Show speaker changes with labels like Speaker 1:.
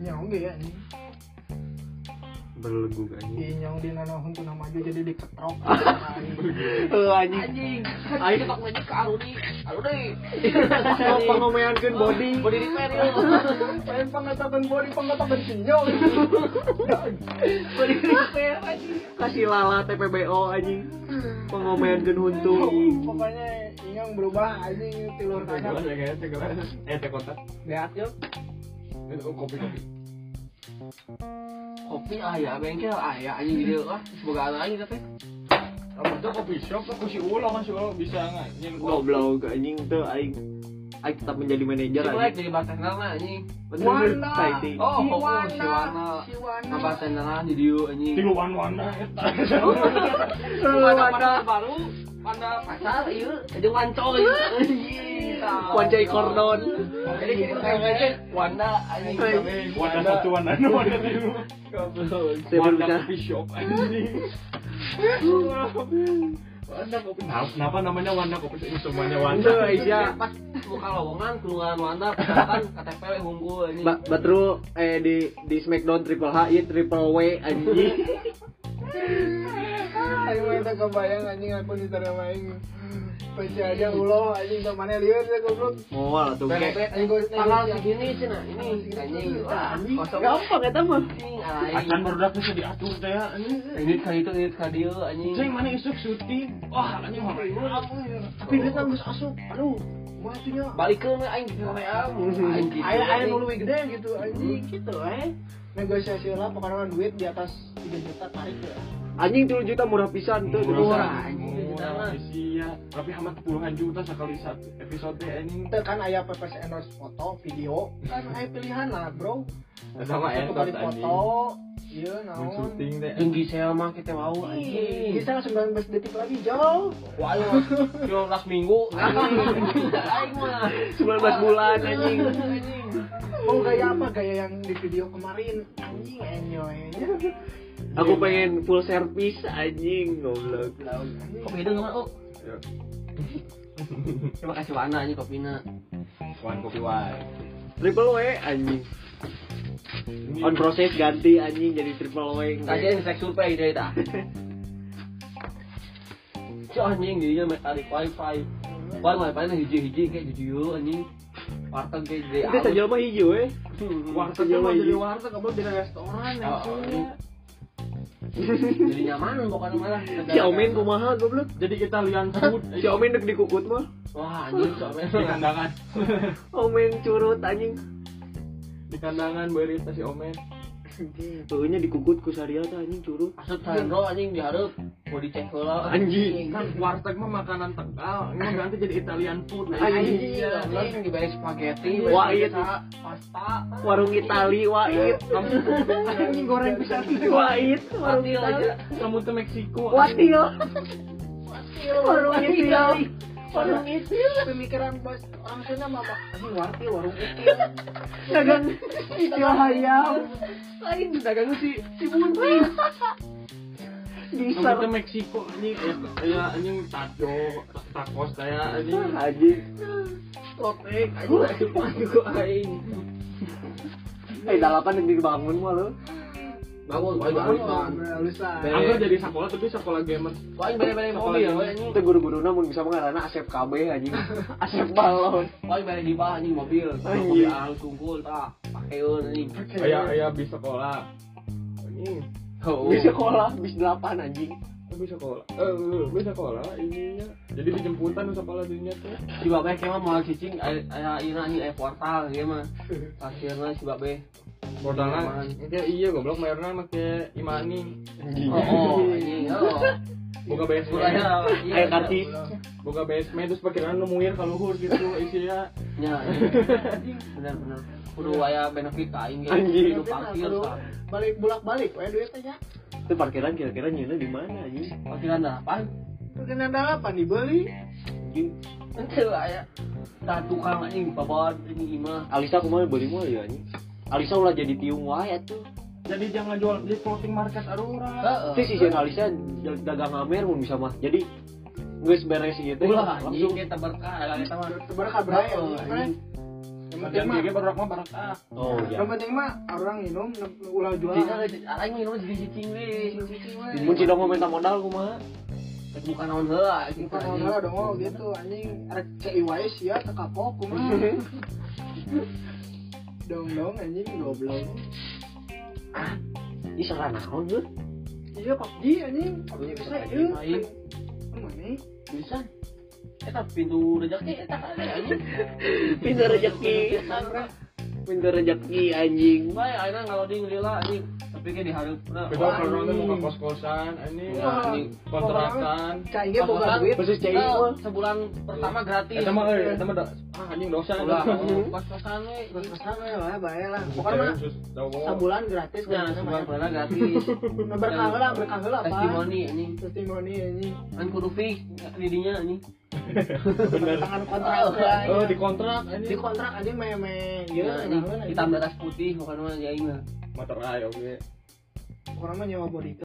Speaker 1: nyong ge ya ini
Speaker 2: berlegu anjing
Speaker 1: di nyong di nana huntu nama aja jadi diketrok heuh anjing
Speaker 3: anjing ayo kita banyak ke Aruni Aruni
Speaker 1: Kalau pengomeankeun body
Speaker 3: body repair ya
Speaker 1: lain pangataban body pangataban sinyong
Speaker 3: body repair anjing
Speaker 4: kasih lala TPBO anjing pengomeankeun huntu
Speaker 1: pokoknya nyong berubah anjing tilur kanan
Speaker 2: eh teh kotak
Speaker 1: lihat yuk
Speaker 2: kopi kopi
Speaker 3: kopi ayah bengkel ah, ayah anjing gitu lah semoga ada anjing tapi
Speaker 2: kamu tuh kopi shop tuh kusi ulo kan si ulo bisa ngajin
Speaker 4: goblok anjing tuh aing aing tetap menjadi manajer
Speaker 3: jadi
Speaker 4: anjing
Speaker 3: jadi bartender mah anjing
Speaker 4: bener
Speaker 1: Wanda
Speaker 4: Saiti
Speaker 3: Oh,
Speaker 1: Si
Speaker 3: fokus,
Speaker 1: Wanda.
Speaker 3: si Wanda.
Speaker 1: Si Wanda.
Speaker 3: bartenderan jadi yuk anjing
Speaker 2: tilu wan wanda
Speaker 3: Bukan pacar baru pada pacar iya jadi wancoy
Speaker 4: Wanda Kordon
Speaker 3: jadi kita kayak Wanda anjing
Speaker 2: wanda satu wanda dua wanda tilu wanda kopi shop anjing wanda kopi kenapa namanya wanda kopi ini semuanya
Speaker 4: Wanda
Speaker 2: wanda
Speaker 4: Aisyah
Speaker 3: pas buka lowongan keluar Wanda kan KTP we unggul anjing
Speaker 4: Ba Batru eh di di Smackdown Triple H iya Triple W anjing
Speaker 1: Ayo kita kebayang anjing aku diterima aing. Pasti aja ulah anjing ke mana lihat ya goblok.
Speaker 4: mual Oh, tuh
Speaker 3: Bebek,
Speaker 4: kayak
Speaker 3: anjing gua tanggal segini cina ini anjing wah kosong ah,
Speaker 4: gampang eta mah
Speaker 3: anjing
Speaker 2: akan
Speaker 3: alain
Speaker 2: baru bisa diatur teh anjing
Speaker 3: ini kali itu ini kali itu anjing
Speaker 2: Ceng mana isuk syuting? Wah, anjing mau
Speaker 3: Oh.
Speaker 2: Tapi dia kan geus asup. Aduh, matinya.
Speaker 3: balik ke aing gitu,
Speaker 2: Ya,
Speaker 3: ah. ke Korea
Speaker 2: gitu
Speaker 3: Gitu, anjing
Speaker 1: Ayo ayo nu lebih gede gitu anjing gitu eh. Negosiasi lah pokoknya mah duit di atas 3 juta tarik ya.
Speaker 4: anjing 3 juta murah pisan tuh
Speaker 3: Murah, anjing, kita
Speaker 2: Murah,
Speaker 3: mah.
Speaker 2: Asia. Tapi hamat puluhan juta sekali satu episode anjing.
Speaker 1: Itu kan aya PPS endorse foto, video, kan aya pilihan lah, Bro.
Speaker 2: Sama
Speaker 1: Satu kali
Speaker 2: endorse anjing.
Speaker 1: foto, iya naon.
Speaker 2: Syuting teh.
Speaker 3: tinggi saya mah kita mau
Speaker 1: Ih,
Speaker 3: anjing
Speaker 1: Bisa 19 detik lagi, jauh.
Speaker 3: Wah, yo last minggu. Aing mah
Speaker 4: 19 bulan anjing
Speaker 1: Oh, gaya apa? Gaya yang di video kemarin. Anjing, enyoynya.
Speaker 4: aku pengen full service anjing goblok
Speaker 3: Kopi itu nggak mau.
Speaker 2: Ya.
Speaker 3: Terima kasih Wana ini kopinya.
Speaker 2: Wan kopi wae.
Speaker 4: Triple W anjing on proses ganti anjing jadi Triple W
Speaker 3: Kajian seks survei dari tak. Si anjing dia mah tarik wifi. Wan wifi nya hiji-hiji kayak jujur anjing. Warteg kayak jadi
Speaker 4: itu saja mah hijau eh
Speaker 2: warteg mah jadi warteg.
Speaker 1: Kamu di restoran ya.
Speaker 3: Oh, ini.
Speaker 2: iya.
Speaker 3: Jadi nyaman pokoknya malah.
Speaker 4: si
Speaker 2: Ya,
Speaker 4: Omin kumaha goblok
Speaker 2: Jadi kita lian food.
Speaker 4: si Omin dek dikukut mah
Speaker 3: Wah anjing si Omin.
Speaker 2: di kandangan.
Speaker 4: Omin curut anjing
Speaker 2: Di kandangan beurit si Omen.
Speaker 4: Tuhnya dikukut ku Saria tah anjing curut
Speaker 3: Asap Sandro anjing diharap. Mau dicek lah.
Speaker 4: Anjing.
Speaker 2: Kan warteg mah makanan Tegal, ini ganti jadi Italian food.
Speaker 3: Anjing,
Speaker 1: Iya,
Speaker 3: anjing dibalik spaghetti,
Speaker 4: Wah, iya.
Speaker 3: pizza, pasta,
Speaker 4: warung Itali wait iya.
Speaker 1: Anjing goreng bisa
Speaker 4: wait warung
Speaker 3: Watil
Speaker 4: Itali
Speaker 3: aja.
Speaker 2: Kamu tuh Meksiko.
Speaker 4: watil warung Itali
Speaker 1: warung
Speaker 4: Iya.
Speaker 1: itil pemikiran bos orang Sunda mah Pak. ini warti warung itil
Speaker 4: dagang ya. itil hayam lain dagang si si buntis
Speaker 2: Kamu
Speaker 4: bisa
Speaker 2: tuh Meksiko anjing. Ya anjing taco, tacos saya anjing.
Speaker 4: anjing
Speaker 1: lotek
Speaker 4: eh dalapan yang dibangun mah lo
Speaker 3: bangun bangun bangun
Speaker 1: lusa
Speaker 2: Aku jadi sekolah tapi sekolah gamer.
Speaker 3: paling balik-balik
Speaker 2: Oh,
Speaker 3: mobil anjing
Speaker 4: itu guru-guru namun bisa mengarana asep KB anjing asep balon
Speaker 3: paling balik di bawah anjing mobil
Speaker 4: Anjing.
Speaker 3: mobil arus tungkul tah pakai anjing
Speaker 2: Ayah ayah bis sekolah. Ini
Speaker 3: oh
Speaker 4: di sekolah bis delapan anjing
Speaker 2: bis sekolah. Eh bis sekolah ininya. Jadi dijemputan sekolah dunia tuh.
Speaker 3: si babe kemah mau cicing ayah ina anjing ayah portal dia mah kasirnya si babe
Speaker 2: Modalnya dia iya goblok mayarnya make imani.
Speaker 3: oh, oh anjing oh
Speaker 2: Boga basement.
Speaker 3: Mulanya, iya,
Speaker 4: ayo kartis
Speaker 2: Boga basement terus pikiran nu muir ka luhur gitu isinya.
Speaker 3: ya iya. bener-bener kudu ayah benefit ka aing ge.
Speaker 4: Anjing.
Speaker 3: kudu parkir tah
Speaker 1: balik bulak balik wae duitnya ya
Speaker 4: itu parkiran kira-kira nyana di mana anjing
Speaker 3: parkiran dah pan
Speaker 1: perkenan dalapan dibeli
Speaker 4: anjing
Speaker 3: ente ayah tah tukang anjing babad ini imah
Speaker 4: Alisa kemarin beli mulu ya anjing. Alisa ulah jadi tiung wae atuh.
Speaker 2: Jadi jangan jual di floating market arura.
Speaker 3: Heeh.
Speaker 4: Si si jeung Alisa jag- dagang amer mun bisa mah. Jadi geus beres gitu
Speaker 3: Ulah
Speaker 4: langsung
Speaker 3: anjing kita berkah kita mah
Speaker 4: iya.
Speaker 1: berkah beraya
Speaker 3: Heeh, anjing.
Speaker 1: ya, yang penting
Speaker 3: Yang
Speaker 1: mah
Speaker 4: gitu,
Speaker 3: gigi baru mah baru ah.
Speaker 4: oh
Speaker 1: yang penting mah orang minum nang- ulah
Speaker 3: Jadi
Speaker 1: jualan
Speaker 3: aing minum jadi cicing weh.
Speaker 4: mun si dong mau minta modal kumaha
Speaker 3: Rek Bukan naon heula anjing.
Speaker 1: Bukan orang dong oh, gitu anjing rek CI wae sia teu ya, kapok kumaha. Dong dong anjing goblok.
Speaker 4: ih salah naon lu
Speaker 1: Iya PUBG anjing, PUBG bisa iya. ieu.
Speaker 3: Aing.
Speaker 1: Mana?
Speaker 3: Bisa. Eta pintu rezeki eta kali anjing.
Speaker 4: pintu rezeki pintu rezeki anjing
Speaker 3: Bae ayeuna ngaloding lila anjing. Tapi ke dihareupeuna.
Speaker 2: Beda kalau nanti mau ke kos-kosan, ini
Speaker 3: Ya, anjing.
Speaker 2: kontrakan.
Speaker 1: Cai ge boga
Speaker 3: Kontrakan.
Speaker 1: duit.
Speaker 4: versus
Speaker 3: Eh,
Speaker 4: cai mah
Speaker 3: sebulan pertama gratis. Oh,
Speaker 2: Eta mah, eh, eta mah da- ah anjing dosa.
Speaker 3: Ulah,
Speaker 2: Heeh.
Speaker 3: kos-kosan we.
Speaker 1: Kosan we ya, lah bae lah. Pokoknya mah
Speaker 2: Sus, tahu.
Speaker 1: sabulan gratis
Speaker 3: Nah,
Speaker 1: kan.
Speaker 3: sebulan pernah gratis.
Speaker 1: Berkah heula, berkah heula apa?
Speaker 3: Testimoni anjing.
Speaker 1: Testimoni anjing.
Speaker 3: Kan kudu fix eh, lidinya anjing.
Speaker 1: Tangan kontrak
Speaker 2: Oh,
Speaker 1: lah.
Speaker 2: di kontrak
Speaker 1: Di
Speaker 2: anjing.
Speaker 1: kontrak anjing Iya, meme
Speaker 3: Ya,
Speaker 1: ieu
Speaker 3: hitam di atas putih bukan mah ya ini.
Speaker 2: Motor ayo ge.
Speaker 1: Orang mah nyawa bodyguard.